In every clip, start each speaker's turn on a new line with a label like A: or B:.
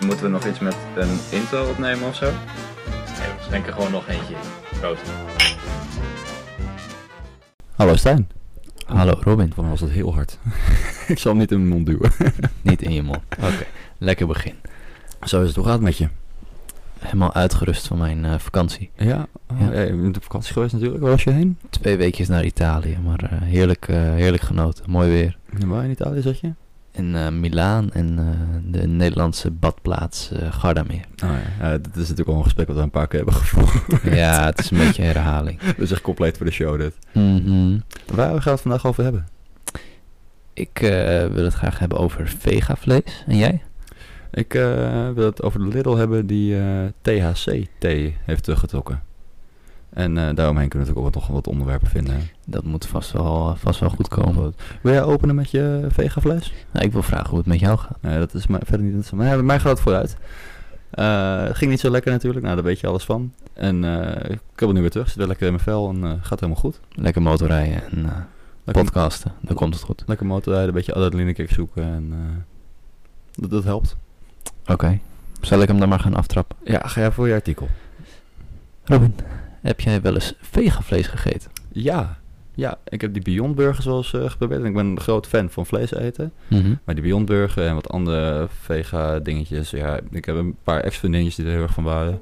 A: Moeten we nog iets met een intro opnemen of zo?
B: Nee, we schenken gewoon nog eentje in. Proost.
C: Hallo Stijn.
D: Hallo Robin,
C: Voor mij was dat heel hard. ik zal hem niet in mijn mond duwen.
D: niet in je mond. Oké, lekker begin.
C: Zo is het. Hoe gaat het met je?
D: Helemaal uitgerust van mijn eh, vakantie.
C: Ja, oh,
D: Ja.
C: ja, je bent op vakantie geweest natuurlijk. Waar was je heen?
D: Twee weekjes naar Italië, maar eh, heerlijk, eh, heerlijk genoten. Mooi weer.
C: Waar in Italië zat je?
D: In eh, Milaan en eh, de Nederlandse badplaats eh, Gardameer.
C: Oh, ja. Eh, dit is natuurlijk al een gesprek wat we een paar keer hebben gevoerd.
D: ja, het is een beetje een herhaling.
C: Dat is echt compleet voor de show dit.
D: Mhm.
C: Waar gaan we het vandaag over hebben?
D: Ik eh, wil het graag hebben over vegavlees. En jij?
C: Ik eh, wil het over de Lidl hebben die eh, THC-thee heeft teruggetrokken. En eh, daaromheen kunnen we natuurlijk ook nog wat onderwerpen vinden.
D: Dat moet vast wel, eh, vast wel goed komen.
C: Wil jij openen met je vegafles?
D: Nou, ik wil vragen hoe het met jou gaat.
C: Nee, dat is maar verder niet interessant. Maar ja, bij mij gaat het vooruit. Eh, het ging niet zo lekker natuurlijk. Nou, daar weet je alles van. En eh, ik heb het nu weer terug. Zit weer lekker in mijn vel en eh, gaat helemaal goed.
D: Lekker motorrijden en eh,
C: Lekker,
D: podcasten. Dan komt het goed.
C: lekker motorrijden, een beetje adrenaline kick zoeken. En eh, dat, dat helpt.
D: Oké. Zal ik hem dan maar gaan aftrappen?
C: Ja, ga jij voor je artikel.
D: Robin, heb jij wel eens vegavlees gegeten?
C: Ja. Ja, ik heb die Beyond Burgers wel eens eh, geprobeerd. En ik ben een groot fan van vlees eten.
D: Mhm.
C: Maar die Beyond Burger en wat andere vega dingetjes. Ja, ik heb een paar extra dingetjes die er heel erg van waren.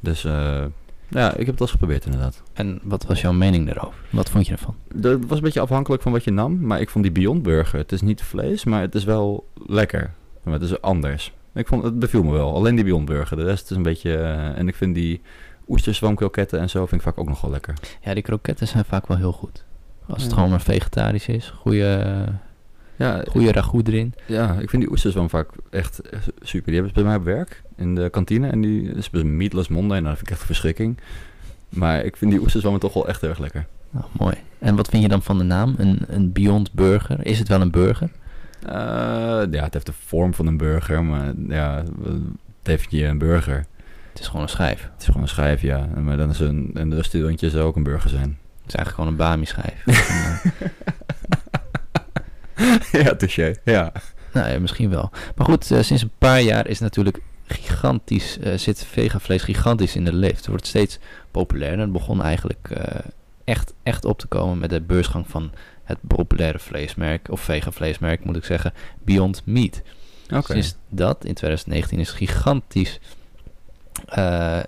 C: Dus eh, ja, ik heb het wel eens geprobeerd inderdaad.
D: En wat was jouw mening daarover? Wat vond je ervan?
C: Dat was een beetje afhankelijk van wat je nam. Maar ik vond die Beyond Burger. Het is niet vlees, maar het is wel lekker. Maar het is anders. Ik vond, het beviel me wel. Alleen die Beyond Burger. De rest is een beetje... eh, en ik vind die oesterzwamkroketten en zo vind ik vaak ook nog wel lekker.
D: Ja, die kroketten zijn vaak wel heel goed. Als het
C: Ja.
D: gewoon maar vegetarisch is, goede,
C: Ja,
D: goede ragout erin.
C: ja ik vind die oesterzwam vaak echt eh, super. Die hebben ze bij mij op werk in de kantine. En die is een meatless monday. En dat vind ik echt een verschrikking. Maar ik vind die oesterzwammen toch wel echt heel erg lekker.
D: Nou, mooi. En wat vind je dan van de naam? Een, een Beyond Burger? Is het wel een burger?
C: Eh, ja, het heeft de vorm van een burger. Maar ja, het heeft je een burger.
D: Het is gewoon een schijf. Het
C: Het is gewoon een schijf, ja. En- Maar dan is een, een restaurantje zou ook een burger zijn.
D: is eigenlijk gewoon een Bami-schijf.
C: ja, touché. Ja.
D: nou ja, misschien wel. Maar goed, eh, sinds een paar jaar is natuurlijk gigantisch, eh, zit vegavlees gigantisch in de lift. Het wordt steeds populairder. Het begon eigenlijk eh, echt, echt op te komen met de beursgang van het populaire vleesmerk, of vegavleesmerk moet ik zeggen, Beyond Meat.
C: Oké.
D: Sinds dat, in 2019, is gigantisch. eh, eh,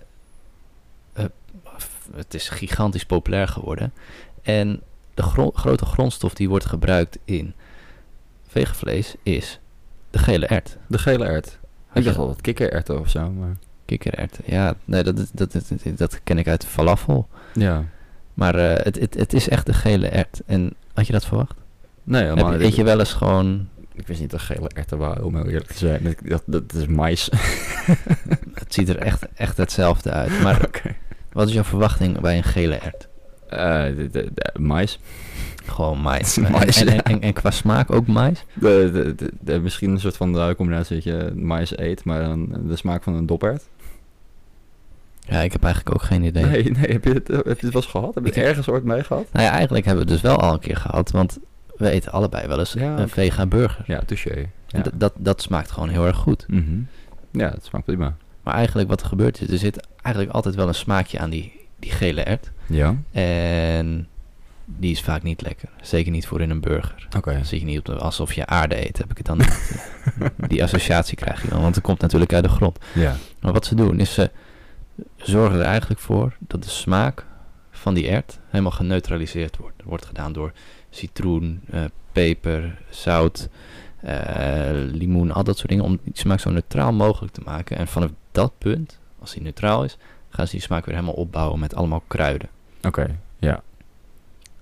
D: f- het is gigantisch populair geworden. En de gro- grote grondstof die wordt gebruikt in veegvlees is de gele ert.
C: De gele ert. Ik
D: Had je
C: dacht al dat kikkererwten of zo, maar...
D: kikkererwt? Ja, nee, dat, dat, dat, dat, dat ken ik uit falafel.
C: Ja.
D: Maar eh, het, het, het is echt de gele ert. En had je dat verwacht?
C: Nee,
D: Heb
C: helemaal
D: je,
C: niet.
D: eet je wel eens gewoon...
C: Ik wist niet dat gele erwten waren, om heel eerlijk te zijn. Ik dacht, dat is mais.
D: Het ziet er echt, echt hetzelfde uit. Maar
C: Oké.
D: wat is jouw verwachting bij een gele ert?
C: Eh, de- de- de- mais.
D: Gewoon mais.
C: Het is mais,
D: en,
C: ja.
D: en, en, en qua smaak ook mais.
C: De, de, de- de- misschien een soort van eh, combinatie dat je mais eet, maar dan de smaak van een dopert.
D: Ja, ik heb eigenlijk ook geen idee.
C: nee, nee, heb je het, heb je het wel eens gehad? Heb je het
D: Ik-
C: ergens ooit mee gehad?
D: Nou ja, eigenlijk hebben we het dus wel al een keer gehad. Want we eten allebei wel eens
C: Ja,
D: een
C: oké.
D: vega burger.
C: Ja, touché.
D: En
C: Ja,
D: d- dat, dat smaakt gewoon heel erg goed.
C: Mhm. ja het smaakt prima.
D: Maar eigenlijk wat er gebeurt is, er zit eigenlijk altijd wel een smaakje aan die, die gele ert.
C: Ja.
D: En die is vaak niet lekker. Zeker niet voor in een burger.
C: Oké.
D: Dan zit je niet op de, alsof je aarde eet, heb ik het dan niet. die associatie krijg je dan, want het komt natuurlijk uit de grond.
C: Ja.
D: Maar wat ze doen is ze zorgen er eigenlijk voor dat de smaak van die ert helemaal geneutraliseerd wordt. Dat wordt gedaan door citroen, eh, peper, zout, eh, limoen, al dat soort dingen. Om die smaak zo neutraal mogelijk te maken. En vanaf dat punt, als die neutraal is, gaan ze die smaak weer helemaal opbouwen met allemaal kruiden.
C: Oké, ja.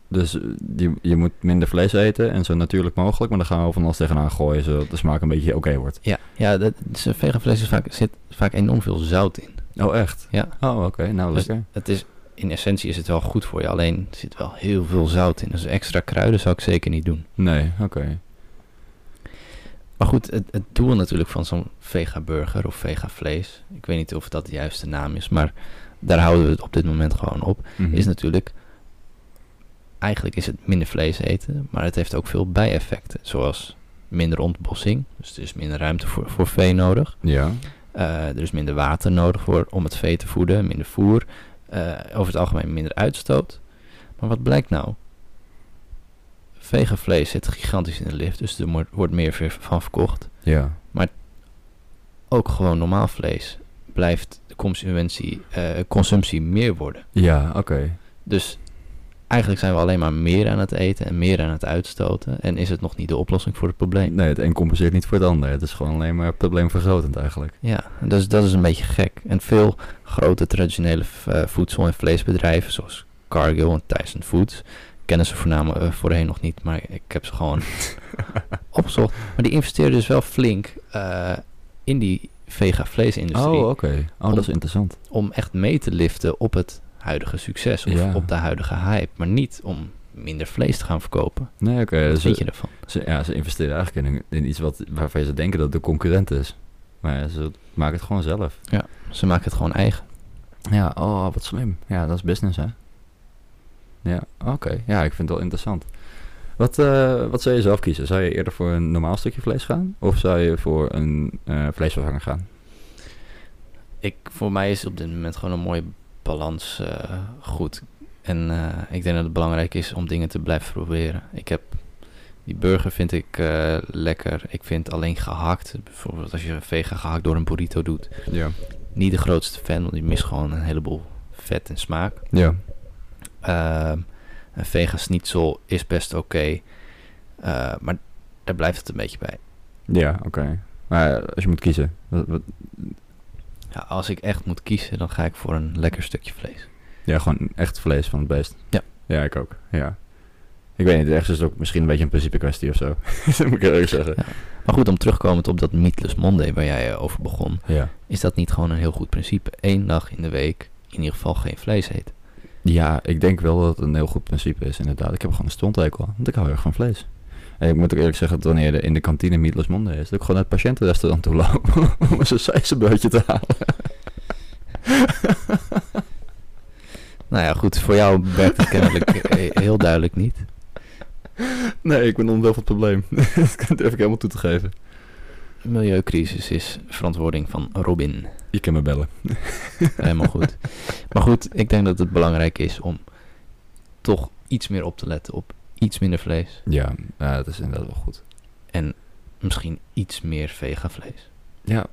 C: Dus eh, je, je moet minder vlees eten en zo natuurlijk mogelijk, maar dan gaan we van alles tegenaan gooien zodat de smaak een beetje oké wordt.
D: Ja, ja dat, dus vegavlees is vaak, zit vaak enorm veel zout in.
C: Oh, echt?
D: Ja.
C: Oh, oké, nou
D: Dus-
C: lekker.
D: Het is, in essentie is het wel goed voor je, alleen er zit wel heel veel zout in. Dus extra kruiden zou ik zeker niet doen.
C: Nee, oké.
D: Maar goed, het, het doel natuurlijk van zo'n vega-burger of vega-vlees, ik weet niet of dat de juiste naam is, maar daar houden we het op dit moment gewoon op,
C: Mhm.
D: is natuurlijk, eigenlijk is het minder vlees eten, maar het heeft ook veel bijeffecten, zoals minder ontbossing. Dus er is minder ruimte voor, voor vee nodig.
C: Ja.
D: Eh, er is minder water nodig voor, om het vee te voeden, minder voer. eh, over het algemeen minder uitstoot. Maar wat blijkt nou? Vegenvlees zit gigantisch in de lift, dus er mo- wordt meer ver- van verkocht.
C: Ja.
D: Ook gewoon normaal vlees blijft de consumentie, eh, consumptie meer worden.
C: Ja, oké.
D: Dus eigenlijk zijn we alleen maar meer aan het eten en meer aan het uitstoten. En is het nog niet de oplossing voor het probleem?
C: Nee, het een compenseert niet voor het ander. Het is gewoon alleen maar probleemvergrotend eigenlijk.
D: Ja, dus dat is een beetje gek. En veel grote traditionele eh, voedsel- en vleesbedrijven, zoals Cargill en Tyson Foods, kennen ze voornamelijk eh, voorheen nog niet, maar ik heb ze gewoon opgezocht. Maar die investeren dus wel flink eh, in die vega-vleesindustrie
C: Oh, oké. Oh, dat is interessant.
D: om echt mee te liften op het huidige succes of
C: Ja.
D: op de huidige hype, maar niet om minder vlees te gaan verkopen.
C: Nee, oké.
D: Wat
C: dus
D: vind
C: ze-
D: je daarvan?
C: ze, ja, ze investeren eigenlijk in, in iets wat, waarvan ze denken dat het de concurrent is. Maar ze maken het gewoon zelf.
D: Ze maken het gewoon eigen.
C: Ja, oh, wat slim. Ja, dat is business, hè? Ja, oké. Ja, ik vind het wel interessant. Wat, eh, wat zou je zelf kiezen? Zou je eerder voor een normaal stukje vlees gaan? Of zou je voor een eh vleesvervanger gaan?
D: ik, voor mij is op dit moment gewoon een mooie balans eh, goed. En eh, ik denk dat het belangrijk is om dingen te blijven proberen. Ik heb die burger vind ik eh, lekker. Ik vind alleen gehakt, bijvoorbeeld als je vegan gehakt door een burrito doet,
C: Ja.
D: niet de grootste fan, want die mist gewoon een heleboel vet en smaak.
C: Ja.
D: Ehm, een vegan schnitzel is best oké, Eh, maar daar blijft het een beetje bij.
C: Ja, oké. Maar als je moet kiezen, wat, wat-
D: Ja, als ik echt moet kiezen, dan ga ik voor een lekker stukje vlees.
C: Ja, gewoon echt vlees van het beest.
D: Ja.
C: Ja, ik ook. Ja. Ik weet niet, ergens is het ook misschien een beetje een principe kwestie of zo. dat moet ik eerlijk zeggen.
D: Maar goed, om terugkomend op dat Meatless Monday waar jij eh, over begon,
C: Ja.
D: is dat niet gewoon een heel goed principe? Eén dag in de week in ieder geval geen vlees eten.
C: Ja, ik denk wel dat het een heel goed principe is, inderdaad. Ik heb gewoon een stonthekel, want ik hou erg van vlees. En ik moet ook eerlijk zeggen dat wanneer er in de kantine Meatless Monday is, dat ik gewoon naar het patiëntenrestaurant toe loop om een sausijzenbroodje te halen.
D: Nou ja, goed, voor jou werkt het kennelijk eh, heel duidelijk niet.
C: Nee, ik ben onderdeel van het probleem. dat durf ik helemaal toe te geven.
D: Milieucrisis is verantwoording van Robin.
C: Je kan me bellen.
D: Helemaal goed. Maar goed, ik denk dat het belangrijk is om toch iets meer op te letten op iets minder vlees
C: Ja, nou, dat is inderdaad wel goed.
D: en misschien iets meer vegan vlees.
C: Ja.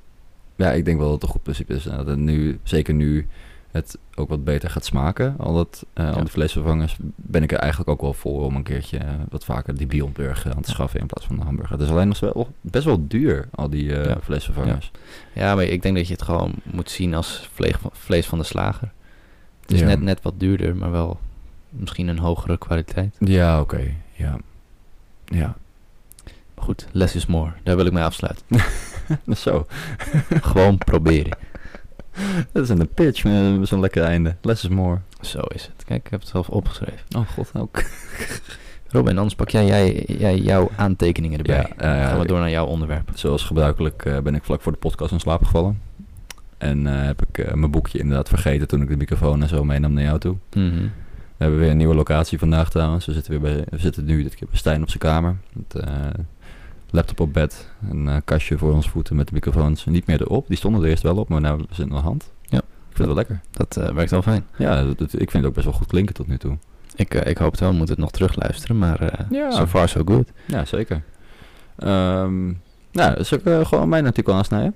C: ja, ik denk wel dat het een goed principe is. En dat het nu, zeker nu het ook wat beter gaat smaken. Al, dat, eh al
D: Ja.
C: die vleesvervangers ben ik er eigenlijk ook wel voor om een keertje eh, wat vaker die Beyond Burger aan te schaffen in plaats van de hamburger. Het is alleen nog wel, best wel duur, al die eh,
D: Ja.
C: vleesvervangers.
D: Ja, maar ik denk dat je het gewoon moet zien als vleeg- vlees van de slager. Het is
C: Ja.
D: net, net wat duurder, maar wel misschien een hogere kwaliteit.
C: Ja, oké. Ja. Ja,
D: Maar goed, less is more. Daar wil ik mee afsluiten.
C: zo.
D: gewoon proberen.
C: Dat is een pitch met zo'n lekker einde. Less is more.
D: Zo is het. Kijk, ik heb het zelf opgeschreven.
C: Oh god, ook.
D: Robin, anders pak jij, jij, jij jouw aantekeningen erbij.
C: Ja, eh,
D: Dan gaan we
C: ik-
D: door naar jouw onderwerp.
C: Zoals gebruikelijk eh, ben ik vlak voor de podcast in slaap gevallen. En eh, heb ik eh, mijn boekje inderdaad vergeten toen ik de microfoon en zo meenam naar jou toe.
D: Mhm.
C: We hebben weer een nieuwe locatie vandaag trouwens. We zitten, weer bij, we zitten nu dit keer bij Stijn op zijn kamer. Met eh, laptop op bed, een eh, kastje voor ons voeten met de microfoons niet meer erop. Die stonden er eerst wel op, maar nou nu zijn aan de hand.
D: Ja.
C: Ik vind het wel lekker.
D: Dat eh, werkt wel fijn.
C: Ja, dat- dat- ik vind het ook best wel goed klinken tot nu toe.
D: Ik, eh, ik hoop het wel. We moeten het nog terugluisteren. Maar eh,
C: Ja.
D: so far so good.
C: Ja, zeker. Ehm, nou, zal ik eh, gewoon mijn artikel aansnijden?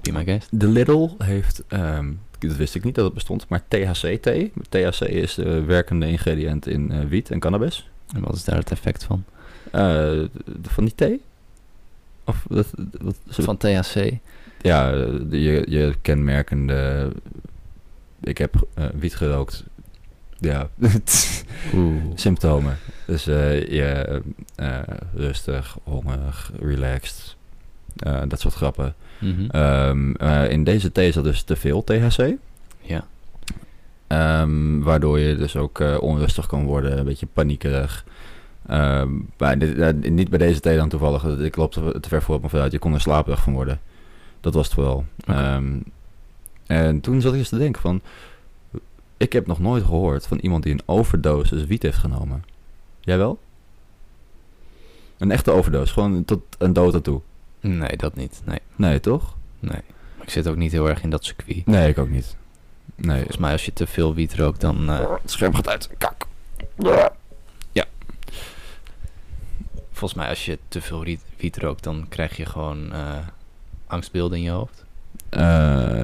D: Be my guest.
C: De Lidl heeft, ehm, dat wist ik niet dat het bestond, maar THC-thee. THC is de werkende ingrediënt in eh, wiet en cannabis.
D: En wat is daar het effect van?
C: Eh, de- van die thee? Of dat, dat, ze-
D: Dus Van THC.
C: Ja, de- je, je kenmerkende. Ik heb eh, wiet gerookt. Ja,
D: Oeh.
C: symptomen. Dus eh, je eh, rustig, hongerig, relaxed. eh, dat soort grappen.
D: Mhm.
C: Ehm, eh, in deze thee zat dus te veel THC.
D: ja.
C: Ehm, waardoor je dus ook eh, onrustig kan worden, een beetje paniekerig. Ehm, maar dit- eh, niet bij deze thee dan toevallig. dat- Ik loop te, te ver voor op me vooruit. Je kon er slaperig van worden. Dat was het vooral.
D: Oké.
C: Ehm, en toen zat ik eens te denken van... Ik heb nog nooit gehoord van iemand die een overdosis wiet heeft genomen. Jij wel? Een echte overdoos, gewoon tot een dood aan toe.
D: Nee, dat niet. Nee,
C: Nee, toch?
D: nee. Maar ik zit ook niet heel erg in dat circuit.
C: Nee, ik ook niet. Nee,
D: Volgens mij als je te veel wiet rookt, dan... eh,
C: het scherm gaat uit. Kak.
D: volgens mij als je te veel riet- wiet rookt, dan krijg je gewoon eh, angstbeelden in je hoofd.
C: Eh,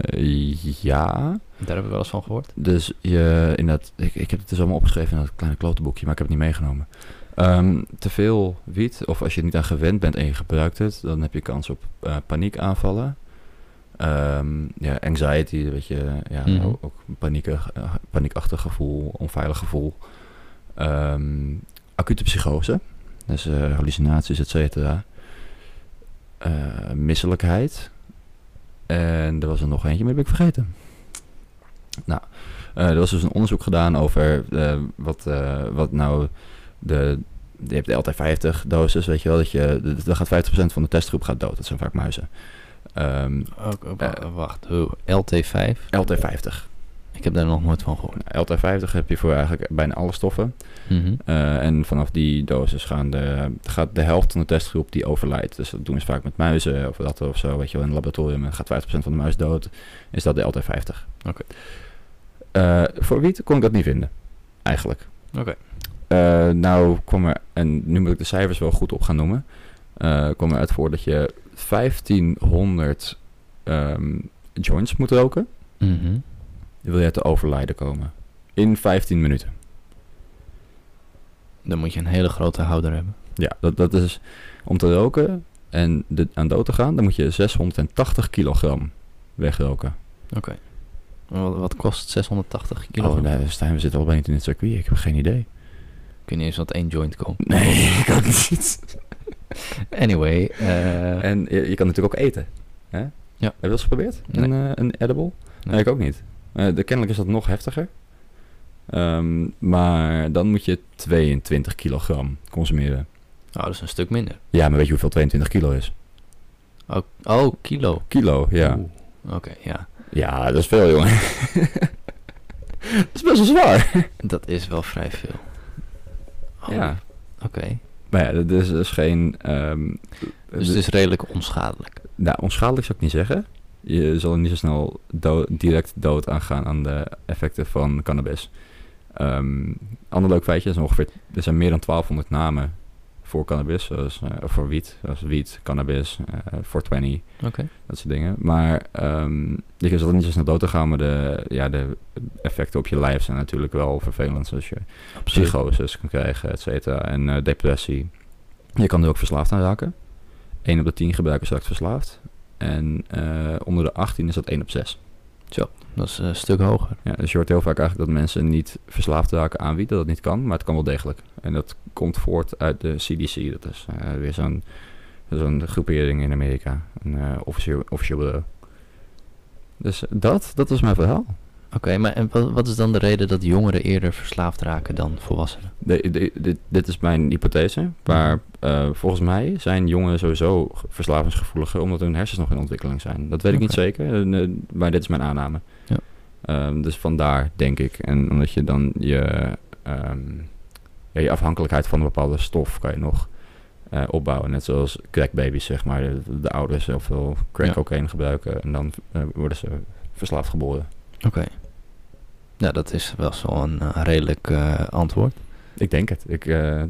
C: ja.
D: Daar heb ik wel eens van gehoord.
C: Dus je, in dat, ik, ik heb het dus allemaal opgeschreven in dat kleine klotenboekje, maar ik heb het niet meegenomen. Ehm te veel wiet, of als je er niet aan gewend bent en je gebruikt het, dan heb je kans op eh, paniekaanvallen. Ehm, ja, anxiety, weet je, ja,
D: Mhm.
C: ook- ook paniekig, eh, paniekachtig gevoel, onveilig gevoel. Ehm, acute psychose, dus eh, hallucinaties, et cetera. Eh, misselijkheid. En er was er nog eentje, maar die heb ik vergeten. Nou, eh, er was dus een onderzoek gedaan over eh, wat, eh, wat nou de... Je hebt de LT50-dosis, weet je wel, dat je... d- Dan gaat 50% van de testgroep gaat dood. Dat zijn vaak muizen. Ehm,
D: Ook,
C: eh,
D: wacht, hoe? LT5?
C: LT50.
D: Ik heb daar nog nooit van gehoord.
C: Nou, LT50 heb je voor eigenlijk bijna alle stoffen.
D: Mhm.
C: Eh, en vanaf die dosis gaan de, gaat de helft van de testgroep die overlijdt. Dus dat doen ze vaak met muizen of dat of zo, weet je wel, in het laboratorium. En gaat 50% van de muis dood, is dat de LT50.
D: Oké.
C: Eh, voor wiet kon ik dat niet vinden, eigenlijk.
D: Oké.
C: Eh, nou kwam er, en nu moet ik de cijfers wel goed op gaan noemen, Eh kwam eruit voor dat je 1500 ehm, joints moet roken.
D: Mhm.
C: Wil je te overlijden komen? In 15 minuten.
D: Dan moet je een hele grote houder hebben.
C: Ja, dat, dat is om te roken en de, aan dood te gaan, dan moet je 680 kilogram wegroken.
D: Oké. Wat, wat kost 680 kilo?
C: Oh, nee, Stijn, we zitten al bijna in het circuit. Ik heb geen idee.
D: Kun je eens wat één joint komen?
C: Nee, ik ook niet.
D: Anyway, eh,
C: En je, je kan natuurlijk ook eten. Hè? Ja. Heb je dat eens geprobeerd?
D: Nee.
C: Een, eh, een edible?
D: Nee.
C: Nee. ik ook niet. Eh, de, kennelijk is dat nog heftiger. Ehm, maar dan moet je 22 kilogram consumeren.
D: oh, dat is een stuk minder.
C: Ja, maar weet je hoeveel 22 kilo is?
D: Oh, oh kilo.
C: Kilo, ja.
D: Oeh. Oké, ja.
C: Ja, dat is veel, jongen. dat is best wel zwaar.
D: Dat is wel vrij veel. Oh,
C: Ja.
D: Oké.
C: Maar ja, dat is, dat is geen... ehm,
D: Dus het is redelijk onschadelijk.
C: Nou, onschadelijk zou ik niet zeggen. Je zal er niet zo snel dood- direct dood aan gaan aan de effecten van cannabis. Ehm ander leuk feitje is ongeveer... Er zijn meer dan 1200 namen voor cannabis, zoals, eh, of voor wiet. Zoals wiet, cannabis, eh 420,
D: Oké.
C: dat soort dingen. Maar ehm, je zal er niet zo snel dood aan gaan, maar de, ja, de effecten op je lijf zijn natuurlijk wel vervelend. Zoals je psychoses kan krijgen, et cetera. En eh, depressie. Je kan er ook verslaafd aan raken. 1 op de 10 gebruikers raakt verslaafd. En eh, onder de 18 is dat 1 op 6.
D: Dat is een stuk hoger.
C: Ja, dus je hoort heel vaak eigenlijk dat mensen niet verslaafd raken aan wiet, dat dat niet kan, maar het kan wel degelijk. En dat komt voort uit de CDC, dat is eh, weer zo'n zo'n groepering in Amerika, een eh, officieel, officieel bureau. Dus dat, dat was mijn verhaal.
D: Oké, maar en wat, wat is dan de reden dat jongeren eerder verslaafd raken dan volwassenen?
C: De- de- dit, dit is mijn hypothese. Maar eh, volgens mij zijn jongeren sowieso ge- verslavingsgevoeliger... omdat hun hersens nog in ontwikkeling zijn. Dat weet ik niet
D: Oké.
C: zeker, en, eh, maar dit is mijn aanname.
D: Ja.
C: Ehm, dus vandaar, denk ik. En omdat je dan je, ehm, ja, je afhankelijkheid van een bepaalde stof... kan je nog eh, opbouwen. Net zoals crackbabies, zeg maar. De, de ouders heel veel crack
D: Ja.
C: cocaïne gebruiken... en dan eh, worden ze verslaafd geboren.
D: Oké. Nou, dat is wel zo'n eh, redelijk eh, antwoord.
C: Ik denk het. Ik, eh,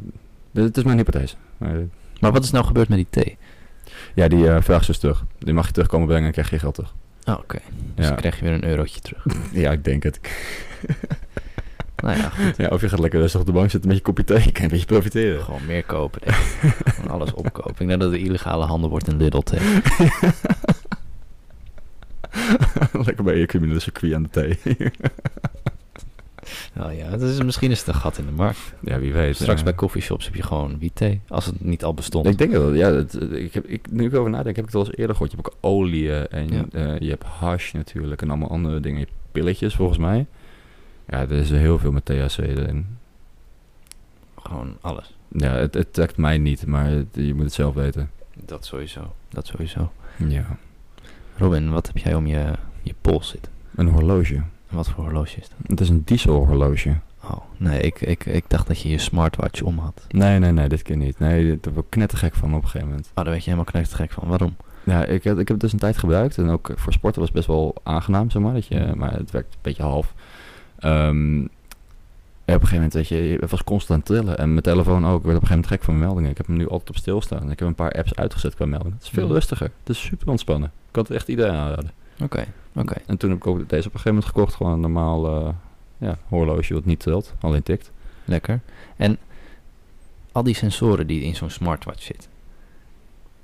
C: dit, dit is mijn hypothese. Maar-
D: Maar wat is nou gebeurd met die thee?
C: Ja, die eh vraag ze dus terug. Die mag je terugkomen brengen en krijg je je geld terug.
D: Oh, oké. Dus
C: Ja.
D: dan krijg je weer een eurotje terug.
C: Ja, ik denk het.
D: nou ja, goed.
C: Ja, of je gaat lekker rustig op de bank zitten met je kopje thee. Kan je een beetje profiteren.
D: Gewoon meer kopen, denk ik. Gewoon alles opkopen. Ik denk dat het illegale handel wordt in Lidl thee.
C: lekker bij je criminele circuit aan de thee.
D: Nou ja, dat is, misschien is het een gat in de markt.
C: ja, wie weet.
D: Straks
C: eh.
D: bij coffeeshops heb je gewoon wiet thee. Als het niet al bestond.
C: Ik denk dat wel. Ja, dat, ik heb, ik, nu ik erover nadenk, heb ik het al eens eerder gehoord. Je hebt ook olie en
D: Ja.
C: eh, je hebt hash natuurlijk en allemaal andere dingen. Je hebt pilletjes volgens mij. Ja, er is heel veel met THC erin.
D: Gewoon alles.
C: Ja, het, het trekt mij niet, maar het- je moet het zelf weten.
D: Dat sowieso. Dat sowieso.
C: Ja.
D: Robin, wat heb jij om je, je pols zitten?
C: Een horloge.
D: En wat voor horloge is dat?
C: Het is een dieselhorloge.
D: Oh, nee, ik, ik, ik dacht dat je je smartwatch om had.
C: Nee, nee, nee, dit keer niet. Nee, dit- daar word ik knettergek van op een gegeven moment.
D: Oh, daar werd je helemaal knettergek van. Waarom?
C: Ja, ik, heb- ik heb het dus een tijd gebruikt. En ook voor sporten was het best wel aangenaam, zeg maar. Dat je, maar het werkt een beetje half. Ehm, en op een gegeven moment, weet je, het was constant aan het trillen. En mijn telefoon ook. Ik werd op een gegeven moment gek van mijn meldingen. Ik heb hem nu altijd op stilstaan. En ik heb een paar apps uitgezet qua meldingen. Het is veel
D: Mm.
C: rustiger. Het is super ontspannen. Ik kan het echt iedereen aanraden.
D: Oké, oké.
C: En toen heb ik ook deze op een gegeven moment gekocht. Gewoon een normaal eh, ja, horloge wat niet trilt, alleen tikt.
D: Lekker. En al die sensoren die in zo'n smartwatch zitten,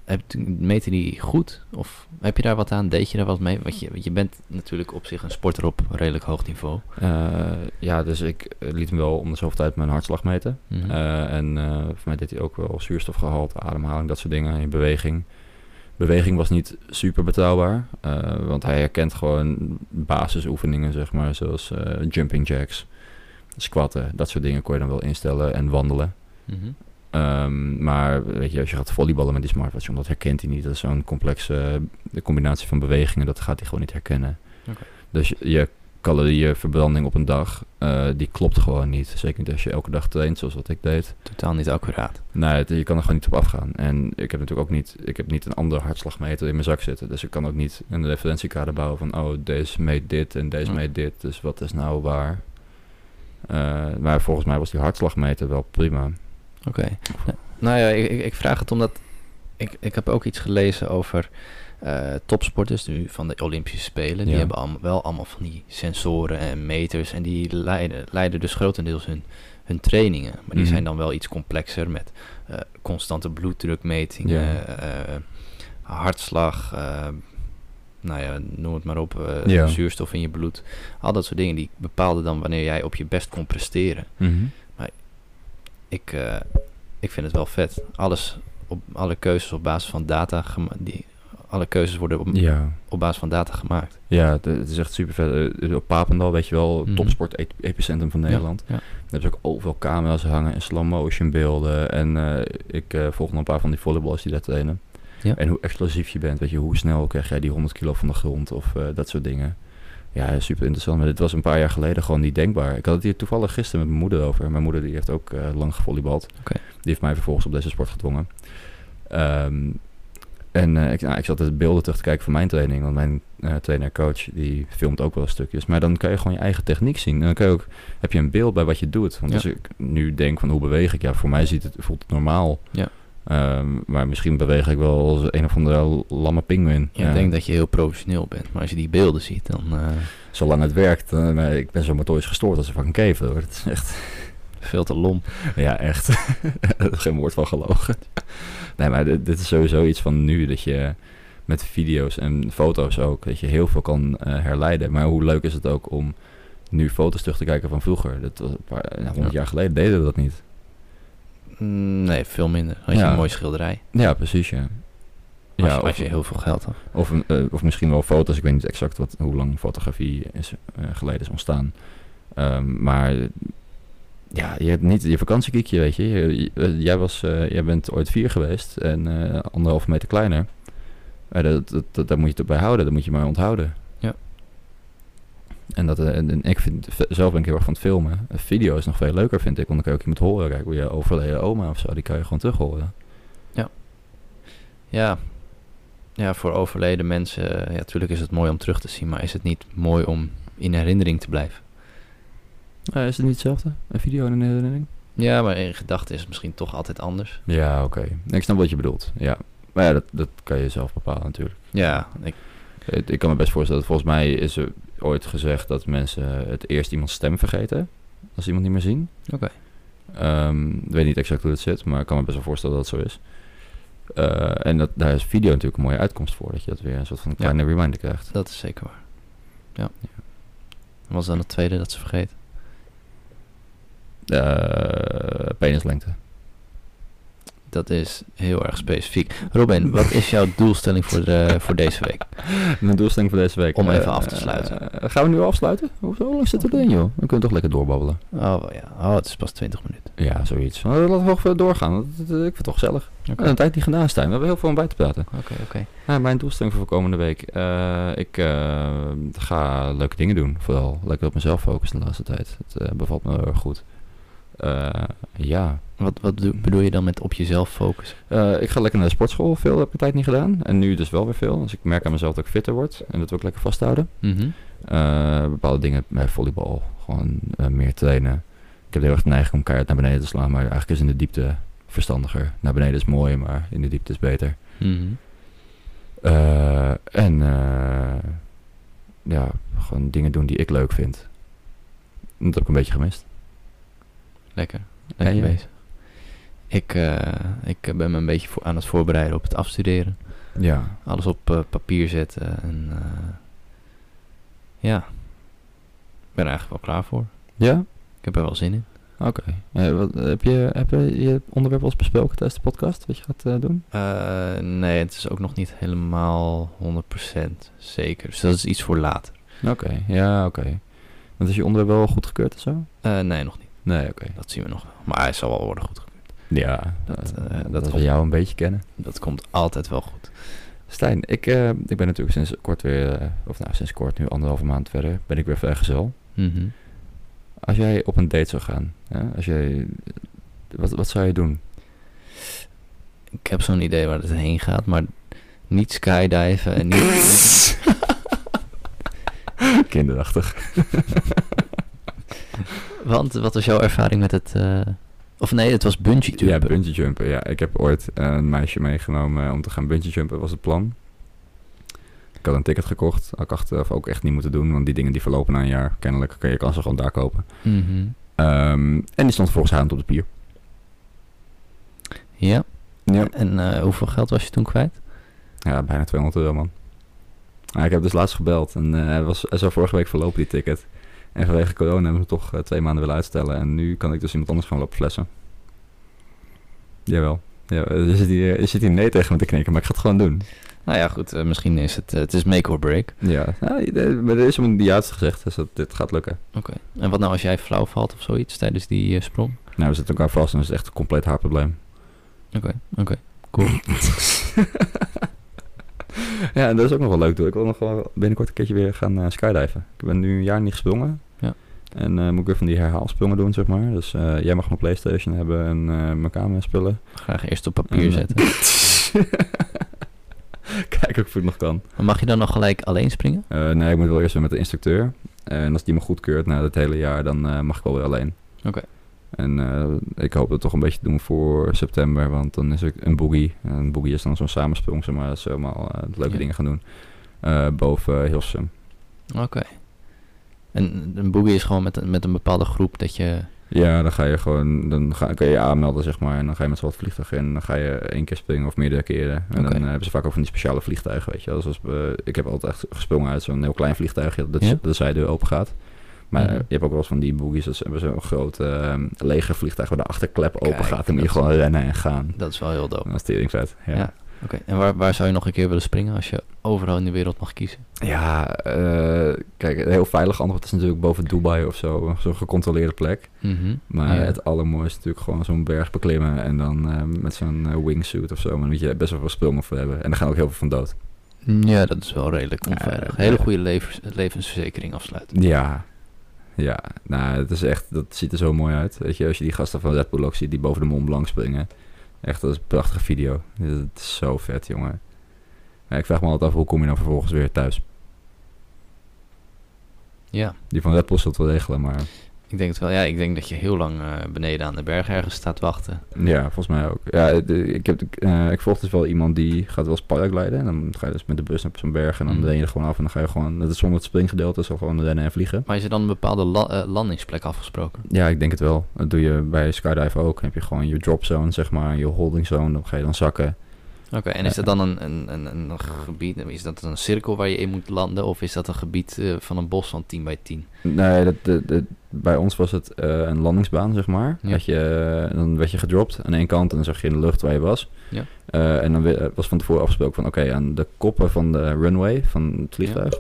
D: heb, meten die goed? Of heb je daar wat aan? Deed je daar wat mee? Want je, want je bent natuurlijk op zich een sporter op redelijk hoog niveau.
C: Eh, ja, dus ik eh, liet hem wel om de zoveel tijd mijn hartslag meten.
D: Mhm.
C: Eh, en eh, voor mij deed hij ook wel zuurstofgehalte, ademhaling, dat soort dingen in beweging. Beweging was niet super betrouwbaar, eh, want hij herkent gewoon basisoefeningen, zeg maar, zoals eh, jumping jacks, squatten, dat soort dingen kon je dan wel instellen en wandelen.
D: Mhm.
C: Ehm, maar weet je, als je gaat volleyballen met die smartwatch, want dat herkent hij niet. Dat is zo'n complexe eh, de combinatie van bewegingen, dat gaat hij gewoon niet herkennen.
D: Oké.
C: Dus je- je calorieënverbranding op een dag, eh, die klopt gewoon niet. Zeker niet als je elke dag traint, zoals wat ik deed.
D: Totaal niet accuraat.
C: Nee, het- je kan er gewoon niet op afgaan. En ik heb natuurlijk ook niet, ik heb niet een andere hartslagmeter in mijn zak zitten. Dus ik kan ook niet een referentiekader bouwen van, oh, deze meet dit en deze
D: Ja.
C: meet dit. Dus wat is nou waar? Eh, maar volgens mij was die hartslagmeter wel prima.
D: Oké. Nou, nou ja, ik, ik- ik vraag het omdat ik, ik heb ook iets gelezen over eh, topsporters nu van de Olympische Spelen. Die
C: Ja.
D: hebben allemaal, wel allemaal van die sensoren en meters. En die leiden, leiden dus grotendeels hun, hun trainingen. Maar die
C: Mhm.
D: zijn dan wel iets complexer met eh, constante bloeddrukmetingen,
C: Ja.
D: eh, hartslag, eh, nou ja, noem het maar op, eh,
C: Ja.
D: zuurstof in je bloed. Al dat soort dingen die bepaalden dan wanneer jij op je best kon presteren ik, eh, ik vind het wel vet. Alles op alle keuzes op basis van data gemaakt. Die, alle keuzes worden op,
C: Ja.
D: op basis van data gemaakt.
C: Ja, het, het is echt super vet. Eh, Op Papendal, weet je wel,
D: Mhm.
C: topsport e- epicentrum van Nederland.
D: Ja, ja.
C: Daar hebben ze ook overal camera's hangen en slow motion beelden. En eh, ik eh, volg nog een paar van die volleyballers die daar trainen.
D: Ja.
C: En hoe explosief je bent, weet je, hoe snel krijg jij die 100 kilo van de grond of eh, dat soort dingen. Ja, super interessant. Maar dit was een paar jaar geleden gewoon niet denkbaar. Ik had het hier toevallig gisteren met mijn moeder over. Mijn moeder die heeft ook eh, lang gevolleybald.
D: Oké.
C: Die heeft mij vervolgens op deze sport gedwongen. Ehm, en eh, ik, nou, ik zat de beelden terug te kijken van mijn training. Want mijn eh, trainer, coach, die filmt ook wel stukjes. Maar dan kan je gewoon je eigen techniek zien. En dan kan je ook, heb je een beeld bij wat je doet. Want
D: Ja.
C: als ik nu denk van hoe beweeg ik? Ja, voor mij ziet het, voelt het normaal.
D: Ja.
C: Ehm, maar misschien beweeg ik wel als een of andere lamme pinguïn. Eh,
D: Ik denk dat je heel professioneel bent, maar als je die beelden ziet, dan eh,
C: Zolang het werkt. eh, maar ik ben zo motorisch gestoord als een fucking kever. Hoor. Het is echt...
D: veel te lomp.
C: Ja, echt. Geen woord van gelogen. Nee, maar dit, dit is sowieso iets van nu dat je met video's en foto's ook, dat je heel veel kan eh, herleiden. Maar hoe leuk is het ook om nu foto's terug te kijken van vroeger? Dat was een paar, nou, 100
D: Ja.
C: jaar geleden deden we dat niet.
D: Mm, Nee, veel minder. Als je
C: Ja.
D: een mooie schilderij.
C: Ja, precies, ja.
D: Als,
C: Ja,
D: je, als
C: of,
D: je heel veel geld had.
C: of, een, eh, of misschien wel foto's. Ik weet niet exact wat, hoe lang fotografie is, eh, geleden is ontstaan. Ehm, maar ja, je hebt niet je vakantiekiekje, weet je. Je- je- eh, jij, was, eh, jij bent ooit vier geweest en eh anderhalve meter kleiner. Eh, dat, dat, dat, daar moet je het bij houden, dat moet je maar onthouden.
D: Ja.
C: En, dat, eh, en, en ik vind, v- zelf ben ik heel erg van het filmen. Een video is nog veel leuker, vind ik. Want dan kan je ook iemand horen. Kijk, hoe je overleden oma of zo, die kan je gewoon terug horen.
D: Ja. ja, voor overleden mensen, eh, ja, natuurlijk is het mooi om terug te zien, maar is het niet mooi om in herinnering te blijven?
C: Eh, is het niet hetzelfde? Een video en een herinnering?
D: Ja, maar in gedachten is het misschien toch altijd anders.
C: Ja, oké. Ik snap wat je bedoelt. Ja. Maar ja, dat, dat kan je zelf bepalen natuurlijk.
D: Ja, ik,
C: Ik, ik kan me best voorstellen, volgens mij is er ooit gezegd dat mensen het eerst iemands stem vergeten. Als ze iemand niet meer zien.
D: Oké.
C: Ehm, ik weet niet exact hoe dat zit, maar ik kan me best wel voorstellen dat dat zo is. Eh, en dat, daar is video natuurlijk een mooie uitkomst voor. Dat je dat weer een soort van kleine reminder krijgt.
D: Dat is zeker waar. Ja. En was dan het tweede dat ze vergeet?
C: Eh, penislengte.
D: dat is heel erg specifiek. Robin, wat is jouw doelstelling voor, de, voor deze week?
C: Mijn doelstelling voor deze week.
D: Om even
C: eh,
D: af te sluiten.
C: eh, gaan we nu afsluiten? Hoe hoe lang zitten we erin, joh? Dan kunnen we toch lekker doorbabbelen.
D: Oh, wel ja. oh het is pas 20 minuten.
C: Ja, zoiets. Maar laten we nog even doorgaan. want het- eh, Ik vind het toch gezellig. We hebben een tijd niet gedaan, Stijn. We hebben heel veel om bij te praten.
D: Oké, oké.
C: Nou, mijn doelstelling voor komende week. eh, ik eh, ga leuke dingen doen. Vooral lekker op mezelf focussen de laatste tijd. Het eh, bevalt me heel erg goed. Eh, ja.
D: Wat, wat doe- bedoel je dan met op jezelf focussen?
C: Eh, ik ga lekker naar de sportschool. Veel heb ik een tijd niet gedaan. En nu dus wel weer veel. Dus ik merk aan mezelf dat ik fitter word. En dat wil ik lekker vasthouden.
D: Mhm.
C: Eh, bepaalde dingen bij volleybal. Gewoon eh, meer trainen. Ik heb heel erg de neiging om keihard naar beneden te slaan. Maar eigenlijk is in de diepte verstandiger. Naar beneden is mooi, maar in de diepte is beter.
D: Mhm.
C: Eh, en eh, ja, gewoon dingen doen die ik leuk vind. Dat heb ik een beetje gemist.
D: Lekker. Lekker
C: jij?
D: bezig. Ik, eh, ik eh, ben me een beetje voor, aan het voorbereiden op het afstuderen.
C: Ja.
D: Alles op eh, papier zetten. En, eh, ja. Ik ben er eigenlijk wel klaar voor.
C: Ja?
D: Ik heb er wel zin in.
C: Oké. Eh, wat- heb, je, heb je je onderwerp al eens besproken tijdens de podcast? Wat je gaat eh, doen?
D: Eh, nee, het is ook nog niet helemaal 100% zeker. Dus dat is iets voor later.
C: Oké, ja, oké. Want is je onderwerp wel goedgekeurd of zo?
D: Eh, nee, nog niet.
C: Nee, oké.
D: Dat zien we nog wel. Maar hij zal wel worden goed.
C: Ja,
D: Dat,
C: dat,
D: eh, dat
C: dat we
D: komt.
C: jou een beetje kennen.
D: Dat komt altijd wel goed.
C: Stijn, ik, eh, ik ben natuurlijk sinds kort weer, eh, of nou sinds kort nu anderhalve maand verder, ben ik weer vrijgezel.
D: Mhm.
C: Als jij op een date zou gaan, hè, als jij, wat, wat zou je doen?
D: Ik heb zo'n idee waar het heen gaat, maar niet skydiven en niet...
C: Kinderachtig.
D: Want wat was jouw ervaring met het... eh, Of nee, het was bungee
C: Ja,
D: jumpen.
C: bungee jumpen. Ja, ik heb ooit een meisje meegenomen om te gaan bungee jumpen, was het plan. Ik had een ticket gekocht, had ik achteraf ook echt niet moeten doen, want die dingen die verlopen na een jaar, kennelijk kan je kan ze gewoon daar kopen.
D: Mhm.
C: Ehm, en die stond volgens haar op de pier.
D: Ja.
C: Ja.
D: En eh, hoeveel geld was je toen kwijt?
C: Ja, bijna 200 euro, man. Ah, ik heb dus laatst gebeld en eh, hij was, hij zou vorige week verlopen, die ticket. En vanwege corona hebben we hem toch eh, twee maanden willen uitstellen. En nu kan ik dus iemand anders gaan lopen flessen. Jawel. Ja, eh, er zit hier, er zit hier nee tegen me te knikken, maar ik ga het gewoon doen.
D: Nou ja, goed. eh, misschien is het... eh, het is make or break.
C: Ja, nou, eh, maar er is hem de juiste gezegd, dus dat, dit gaat lukken.
D: Oké. En wat nou als jij flauw valt of zoiets tijdens die eh, sprong?
C: Nou, we zitten elkaar vast en dat is echt een compleet haar probleem.
D: Oké, oké. Cool.
C: Ja, en dat is ook nog wel leuk, hoor. Ik wil nog wel binnenkort een keertje weer gaan eh, skydiven. Ik ben nu een jaar niet gesprongen.
D: Ja.
C: En eh, moet ik weer van die herhaalsprongen doen, zeg maar. Dus eh, jij mag mijn Playstation hebben en eh, mijn camera en spullen.
D: Graag eerst op papier
C: En, eh,
D: zetten.
C: Kijk of ik het nog kan.
D: Maar mag je dan nog gelijk alleen springen?
C: Eh, nee, ik moet wel eerst weer met de instructeur. En als die me goedkeurt na het hele jaar, dan eh, mag ik wel weer alleen.
D: Oké.
C: En eh, ik hoop dat toch een beetje te doen voor september, want dan is er een boogie. En een boogie is dan zo'n samensprong, zeg maar, dat ze allemaal eh, leuke
D: Ja.
C: dingen gaan doen. Eh, boven Hilsum.
D: Oké. En een boogie is gewoon met, een- met een bepaalde groep dat je...
C: Ja, dan ga je gewoon, dan ga, kan je je aanmelden, zeg maar. En dan ga je met z'n wat vliegtuigen in. En dan ga je één keer springen of meerdere keren. En
D: Oké.
C: dan eh, hebben ze vaak ook van die speciale vliegtuigen, weet je wel. Zoals, eh, ik heb altijd echt gesprongen uit zo'n heel klein vliegtuigje dat
D: Ja?
C: de zijdeur open gaat. Maar
D: Mhm.
C: eh, je hebt ook wel eens van die boogies, dat ze hebben zo'n groot eh, leger vliegtuig waar de achterklep
D: Kijk,
C: open gaat. Dan moet
D: dat
C: je
D: is-
C: gewoon rennen en gaan.
D: Dat is wel heel dope.
C: Dat is teringvet, ja.
D: Ja. Oké. En waar, waar zou je nog een keer willen springen als je overal in de wereld mag kiezen?
C: Ja, eh, kijk, een heel veilig antwoord is natuurlijk boven Dubai of zo. Zo'n gecontroleerde plek.
D: Mhm.
C: Maar
D: Ja.
C: het allermooiste is natuurlijk gewoon zo'n berg beklimmen en dan eh, met zo'n eh, wingsuit of zo. Maar dan moet je best wel veel sprongen voor hebben. En daar gaan ook heel veel van dood.
D: Ja, dat is wel redelijk onveilig.
C: Eh,
D: Hele
C: ja.
D: goede levens, levensverzekering afsluiten.
C: Ja. Ja, nou, het is echt, dat ziet er zo mooi uit. Weet je, als je die gasten van Red Bull ook ziet die boven de Mont Blanc springen. Echt, dat is een prachtige video. Dat is zo vet, jongen. Maar ik vraag me altijd af, hoe kom je dan vervolgens weer thuis?
D: Ja,
C: Die van Red Bull zult het wel regelen, maar
D: ik denk het wel. Ja, ik denk dat je heel lang eh, beneden aan de berg ergens staat wachten.
C: Ja, volgens mij ook. Ja, de- ik, heb, eh, ik volg dus wel iemand die gaat wel eens paragliden. En dan ga je dus met de bus op zo'n berg en dan
D: Mhm.
C: ren je er gewoon af. En dan ga je gewoon, dat is zonder het springgedeelte, is al gewoon rennen en vliegen.
D: Maar is er dan een bepaalde la- eh, landingsplek afgesproken?
C: Ja, ik denk het wel. Dat doe je bij skydive ook. Dan heb je gewoon je drop zone, zeg maar, je holding zone. Dan ga je dan zakken.
D: Oké, en is dat dan een, een, een, een gebied, is dat een cirkel waar je in moet landen? Of is dat een gebied eh, van een bos van 10 bij 10?
C: Nee, dat, dat, dat- bij ons was het eh, een landingsbaan, zeg maar.
D: Ja.
C: Had je, eh, dan werd je gedropt aan één kant en dan zag je in de lucht waar je was.
D: Ja.
C: Eh, en dan we- was van tevoren afgesproken van, oké, aan de koppen van de runway van het vliegtuig,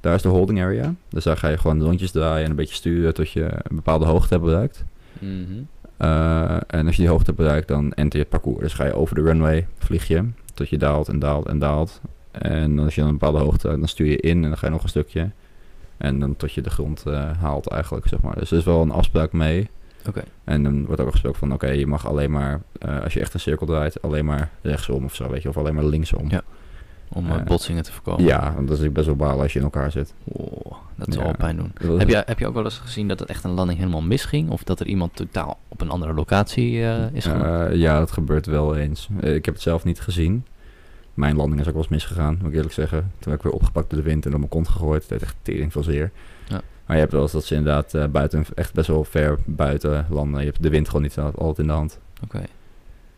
C: daar is de holding area. Dus daar ga je gewoon rondjes draaien en een beetje sturen tot je een bepaalde hoogte hebt bereikt.
D: Mhm.
C: Eh, en als je die hoogte bereikt, dan enter je het parcours. Dus ga je over de runway, vlieg je, tot je daalt en daalt en daalt. En als je dan een bepaalde hoogte, dan stuur je in en dan ga je nog een stukje. En dan tot je de grond eh, haalt eigenlijk, zeg maar. Dus er is wel een afspraak mee.
D: Oké.
C: En dan wordt ook afgesproken van, oké, je mag alleen maar, eh, als je echt een cirkel draait, alleen maar rechtsom of zo, weet je. Of alleen maar linksom.
D: Ja. Om eh,
C: Eh,
D: botsingen te voorkomen.
C: Ja, want dat is natuurlijk best wel balen als je in elkaar zit.
D: Oh, dat zal
C: Ja.
D: wel pijn doen.
C: Dat is-
D: Heb je, heb je ook wel eens gezien dat het echt een landing helemaal misging? Of dat er iemand totaal op een andere locatie eh, is geland?
C: Eh, ja, dat gebeurt wel eens. Eh, ik heb het zelf niet gezien. Mijn landing is ook wel eens misgegaan, moet ik eerlijk zeggen. Toen werd ik weer opgepakt door de wind en op mijn kont gegooid. Het deed echt tering veel zeer.
D: Ja.
C: Maar je hebt wel eens dat ze inderdaad eh, buiten, echt best wel ver buiten landen. Je hebt de wind gewoon niet al- altijd in de hand.
D: Oké.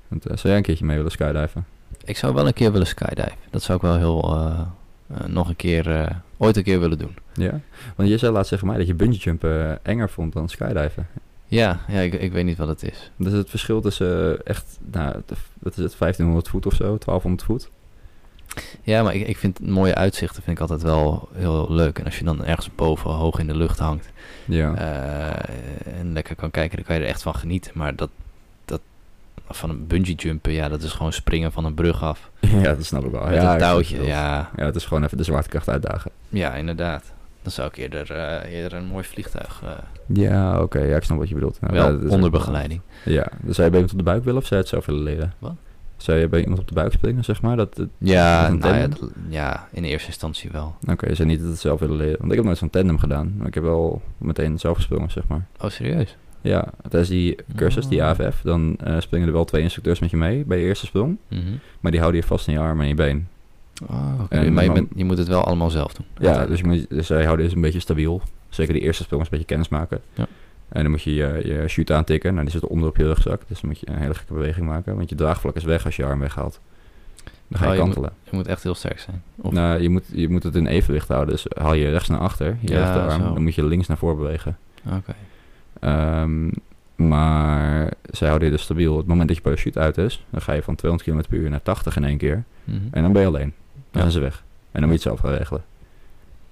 C: Want, eh, zou jij een keertje mee willen skydiven?
D: Ik zou wel een keer willen skydiven. Dat zou ik wel heel... eh, eh, nog een keer... eh, ooit een keer willen doen.
C: Ja? Want je zei laatst tegen mij dat je bungee jumpen eh, enger vond dan skydiven.
D: Ja, ja ik, ik weet niet wat het is.
C: Dat is het verschil tussen eh, echt, nou, dat is het 1500 voet of zo, 1200 voet.
D: Ja, maar ik, ik vind mooie uitzichten vind ik altijd wel heel leuk. En als je dan ergens boven hoog in de lucht hangt...
C: Ja.
D: eh, en lekker kan kijken, dan kan je er echt van genieten. Maar dat, dat van een bungee jumpen, ja, dat is gewoon springen van een brug af.
C: ja, dat snap ik wel.
D: met
C: Oh ja, ik snap
D: een touwtje,
C: het wel.
D: ja.
C: Ja, het is gewoon even de zwaartekracht uitdagen.
D: Ja, inderdaad. Dan zou ik eerder, eh, eerder een mooi vliegtuig... eh
C: Ja, oké. Ja, ik snap wat je bedoelt. Nou,
D: wel,
C: dat is-
D: onder begeleiding.
C: Ja. Dus zou je bij iemand op de buik willen of zou je het zelf willen leren?
D: Wat?
C: Zou je bij iemand op de buik springen, zeg maar? Dat, dat-
D: Ja,
C: Een
D: nou ja,
C: tandem?
D: dat- ja, in eerste instantie wel.
C: Oké, je zou niet dat het zelf willen leren. Want ik heb nooit zo'n tandem gedaan. Maar ik heb wel meteen zelf gesprongen, zeg maar.
D: Oh, serieus?
C: Ja, tijdens die cursus, die
D: Oh.
C: AFF, dan eh, springen er wel twee instructeurs met je mee bij je eerste sprong.
D: Mhm.
C: Maar die houden je vast in je arm en je been.
D: Oh, oké.
C: En
D: maar je,
C: dan-
D: bent- je moet het wel allemaal zelf doen.
C: Ja, dus, je moet, dus zij houden dus een beetje stabiel. Zeker die eerste sprong is een beetje kennis maken.
D: Ja.
C: En dan moet je je, je chute aantikken. Nou, die zit onder op je rugzak. Dus dan moet je een hele gekke beweging maken. Want je draagvlak is weg als je je arm weghaalt. Dan ga je
D: Oh, je
C: kantelen.
D: Je moet echt heel sterk zijn. Of,
C: nou, je, moet, je moet het in evenwicht houden. Dus haal je rechts naar achter, je
D: Ja,
C: rechterarm.
D: zo.
C: Dan moet je links naar voor bewegen.
D: Oké.
C: Ehm, maar zij houden je dus stabiel. Het moment dat je parachute uit is, dan ga je van 200 km per uur naar 80 in één keer.
D: Mhm.
C: En dan ben je alleen. Dan
D: Ja.
C: zijn ze weg. En dan moet je het zelf gaan regelen.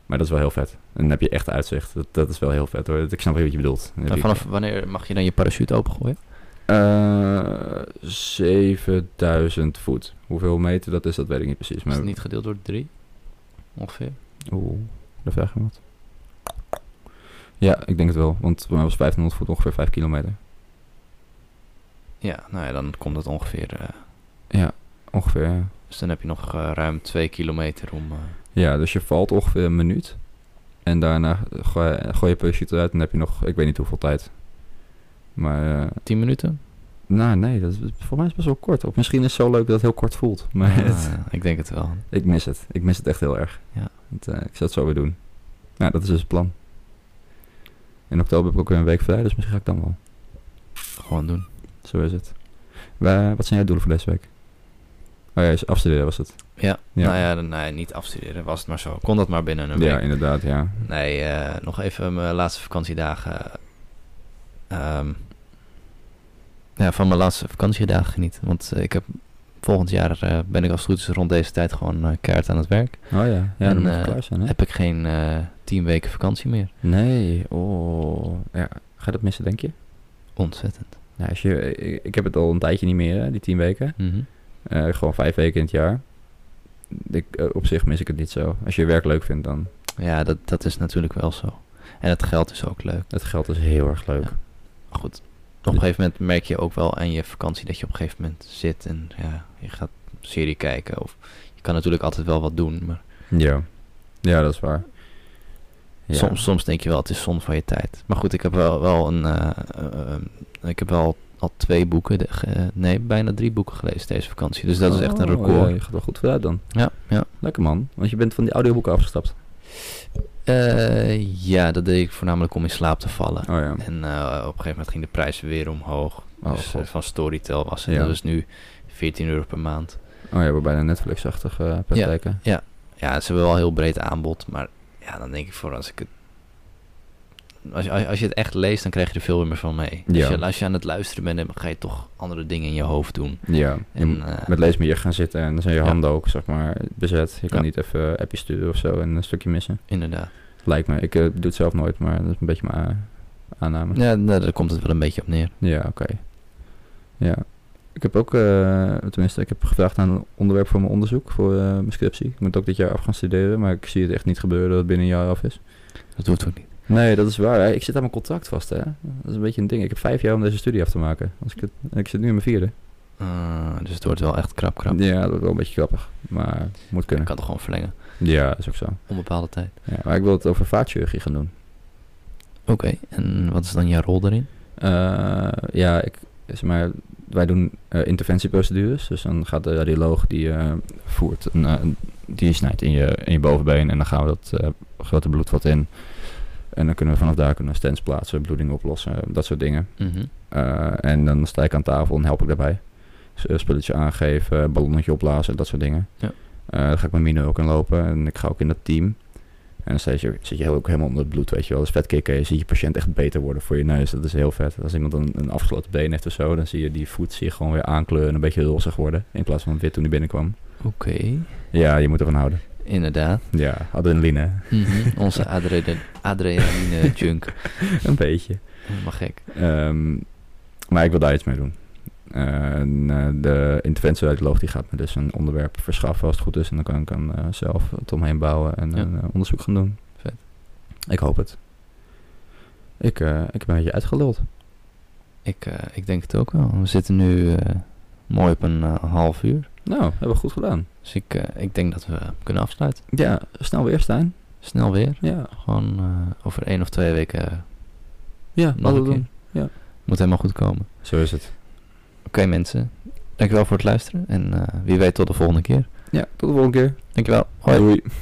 C: Maar dat is wel heel vet. En dan heb je echt uitzicht. Dat, dat is wel heel vet hoor. Ik snap wat je bedoelt. Dan heb
D: Maar
C: je-
D: vanaf wanneer mag je dan je parachute opengooien?
C: Eh, 7000 voet. Hoeveel meter dat is, dat weet ik niet precies.
D: Is
C: Maar...
D: het niet gedeeld door drie? Ongeveer.
C: Oeh, daar vraag je me wat. Ja, ik denk het wel. Want voor mij was 1500 voet ongeveer 5 kilometer.
D: Ja, nou ja, dan komt dat ongeveer. eh,
C: Ja, ongeveer. ja.
D: dus dan heb je nog eh, ruim twee kilometer om. eh,
C: Ja, dus je valt ongeveer een minuut. En daarna gooi, gooi je parachute uit en dan heb je nog, ik weet niet hoeveel tijd. Maar, eh,
D: tien minuten?
C: nou nee, dat is, voor mij is het best wel kort. Of misschien is het zo leuk dat het heel kort voelt. Maar het-
D: Ah, ik denk het wel.
C: ik mis het. Ik mis het echt heel erg.
D: Ja.
C: Want, eh, ik zou het zo weer doen. Nou, dat is dus het plan. In oktober heb ik ook weer een week vrij, dus misschien ga ik dan wel.
D: Gewoon doen.
C: Zo is het. Wa- wat zijn jouw doelen voor deze week? Oh ja, is afstuderen was het.
D: Ja,
C: Ja.
D: nou ja, dan, nee, niet afstuderen was het maar zo. Kon dat maar binnen een
C: Ja,
D: week.
C: inderdaad, ja.
D: Nee, eh, nog even mijn laatste vakantiedagen. ehm, ja, van mijn laatste vakantiedagen genieten. Want eh, ik heb volgend jaar eh, ben ik als het goed is rond deze tijd gewoon eh kaart aan het werk.
C: Oh ja, ja dan
D: En,
C: moet je
D: eh,
C: klaar zijn, hè?
D: Heb ik geen eh, tien weken vakantie meer.
C: Nee, oh. Ja, ga je dat missen, denk je?
D: Ontzettend.
C: Nou, als je ik, ik heb het al een tijdje niet meer, hè, die tien weken.
D: Mhm.
C: Eh, gewoon vijf weken in het jaar. Ik, eh, op zich mis ik het niet zo. Als je je werk leuk vindt, dan...
D: Ja, dat, dat is natuurlijk wel zo. En het geld is ook leuk.
C: Het geld is heel erg leuk.
D: Ja. Maar goed, op een gegeven moment merk je ook wel aan je vakantie dat je op een gegeven moment zit en ja, je gaat een serie kijken. Of je kan natuurlijk altijd wel wat doen, maar
C: Ja, ja dat is waar. Ja.
D: Soms, soms denk je wel, het is zonde van je tijd. Maar goed, ik heb wel, wel een. eh, eh, eh, ik heb wel al twee boeken. de- ge- nee, bijna drie boeken gelezen deze vakantie. Dus dat is echt een
C: Oh,
D: record.
C: ja, je gaat wel goed vooruit dan.
D: Ja, ja.
C: Lekker man, want je bent van die audioboeken afgestapt.
D: Eh, ja, dat deed ik voornamelijk om in slaap te vallen.
C: Oh ja.
D: En eh, op een gegeven moment ging de prijs weer omhoog.
C: Oh,
D: dus eh,
C: God.
D: van Storytel was het.
C: Ja.
D: Dat is nu 14 euro per maand.
C: Oh ja, we bijna Netflix-achtig eh praktijken.
D: Ja, ze hebben wel een heel breed aanbod. Maar ja, dan denk ik voor als ik het als, je- als, je- als je het echt leest, dan krijg je er veel meer van mee.
C: Ja.
D: Als, je, als je aan het luisteren bent, dan ga je toch andere dingen in je hoofd doen.
C: Ja, je
D: En,
C: moet
D: eh,
C: met leesmedier gaan zitten en dan zijn je
D: ja.
C: handen ook zeg maar bezet. Je kan
D: Ja.
C: niet even appje sturen of zo en een stukje missen.
D: Inderdaad.
C: Lijkt me. Ik eh, doe het zelf nooit, maar dat is een beetje mijn a- aanname.
D: Ja, nou, daar komt het wel een beetje op neer.
C: Ja, oké. Ja. Ik heb ook, eh, tenminste, ik heb gevraagd naar een onderwerp voor mijn onderzoek, voor eh, mijn scriptie. Ik moet ook dit jaar af gaan studeren, maar ik zie het echt niet gebeuren dat het binnen een jaar af is.
D: Dat hoeft ook niet.
C: Nee, dat is waar. Hè. Ik zit aan mijn contract vast, hè. Dat is een beetje een ding. Ik heb vijf jaar om deze studie af te maken. Als ik, het, en ik zit nu in mijn vierde.
D: Eh, dus het wordt wel echt krap, krap.
C: Ja, dat wordt wel een beetje grappig, maar moet
D: Ik
C: kunnen.
D: kan het gewoon verlengen.
C: Ja, dat is ook zo.
D: Onbepaalde tijd.
C: Ja, maar ik wil het over vaatchirurgie gaan doen.
D: Oké, en wat is dan jouw rol daarin?
C: Eh, ja, ik, zeg maar, wij doen eh, interventieprocedures. Dus dan gaat de radioloog die eh, voert, een, eh, die snijdt in je, in je bovenbeen en dan gaan we dat eh, grote bloedvat in. En dan kunnen we vanaf daar kunnen we stents plaatsen, bloeding oplossen, dat soort dingen.
D: Mhm.
C: Eh, en dan sta ik aan tafel en help ik daarbij. Dus, eh, spulletje aangeven, ballonnetje opblazen, dat soort dingen.
D: Ja.
C: Eh, dan ga ik met Mino ook in lopen en ik ga ook in dat team. En dan zit je, zit je ook helemaal onder het bloed, weet je wel. Dus vet kicken, je ziet je patiënt echt beter worden voor je neus. Dat is heel vet. Als iemand een, een afgesloten been heeft of zo, dan zie je die voet zie je gewoon weer aankleuren en een beetje rozig worden. In plaats van wit toen hij binnenkwam.
D: Oké,
C: Ja, je moet ervan houden.
D: inderdaad.
C: Ja, adrenaline.
D: Mhm. Onze adre- adrenaline junk.
C: een beetje.
D: Helemaal gek.
C: Ehm, maar ik wil daar iets mee doen. En, eh, de interventieradioloog die gaat me dus een onderwerp verschaffen als het goed is. En dan kan ik hem eh, zelf het omheen bouwen en
D: Ja.
C: een eh, onderzoek gaan doen.
D: Vet.
C: Ik hoop het. Ik, eh, ik ben een beetje uitgeluld.
D: Ik, eh, ik denk het ook wel. We zitten nu eh, mooi op een eh, half uur.
C: Nou, hebben we goed gedaan.
D: Dus ik, eh, ik denk dat we kunnen afsluiten.
C: Ja, snel weer Stijn.
D: Snel weer.
C: Ja,
D: Gewoon eh, over één of twee weken eh,
C: ja
D: nog
C: laten
D: een
C: we
D: keer.
C: doen. ja.
D: Moet helemaal goed komen.
C: Zo is het.
D: Oké mensen, dankjewel voor het luisteren. En eh, wie weet tot de volgende keer.
C: Ja, tot de volgende keer.
D: Dankjewel. Hoi.
C: Doei.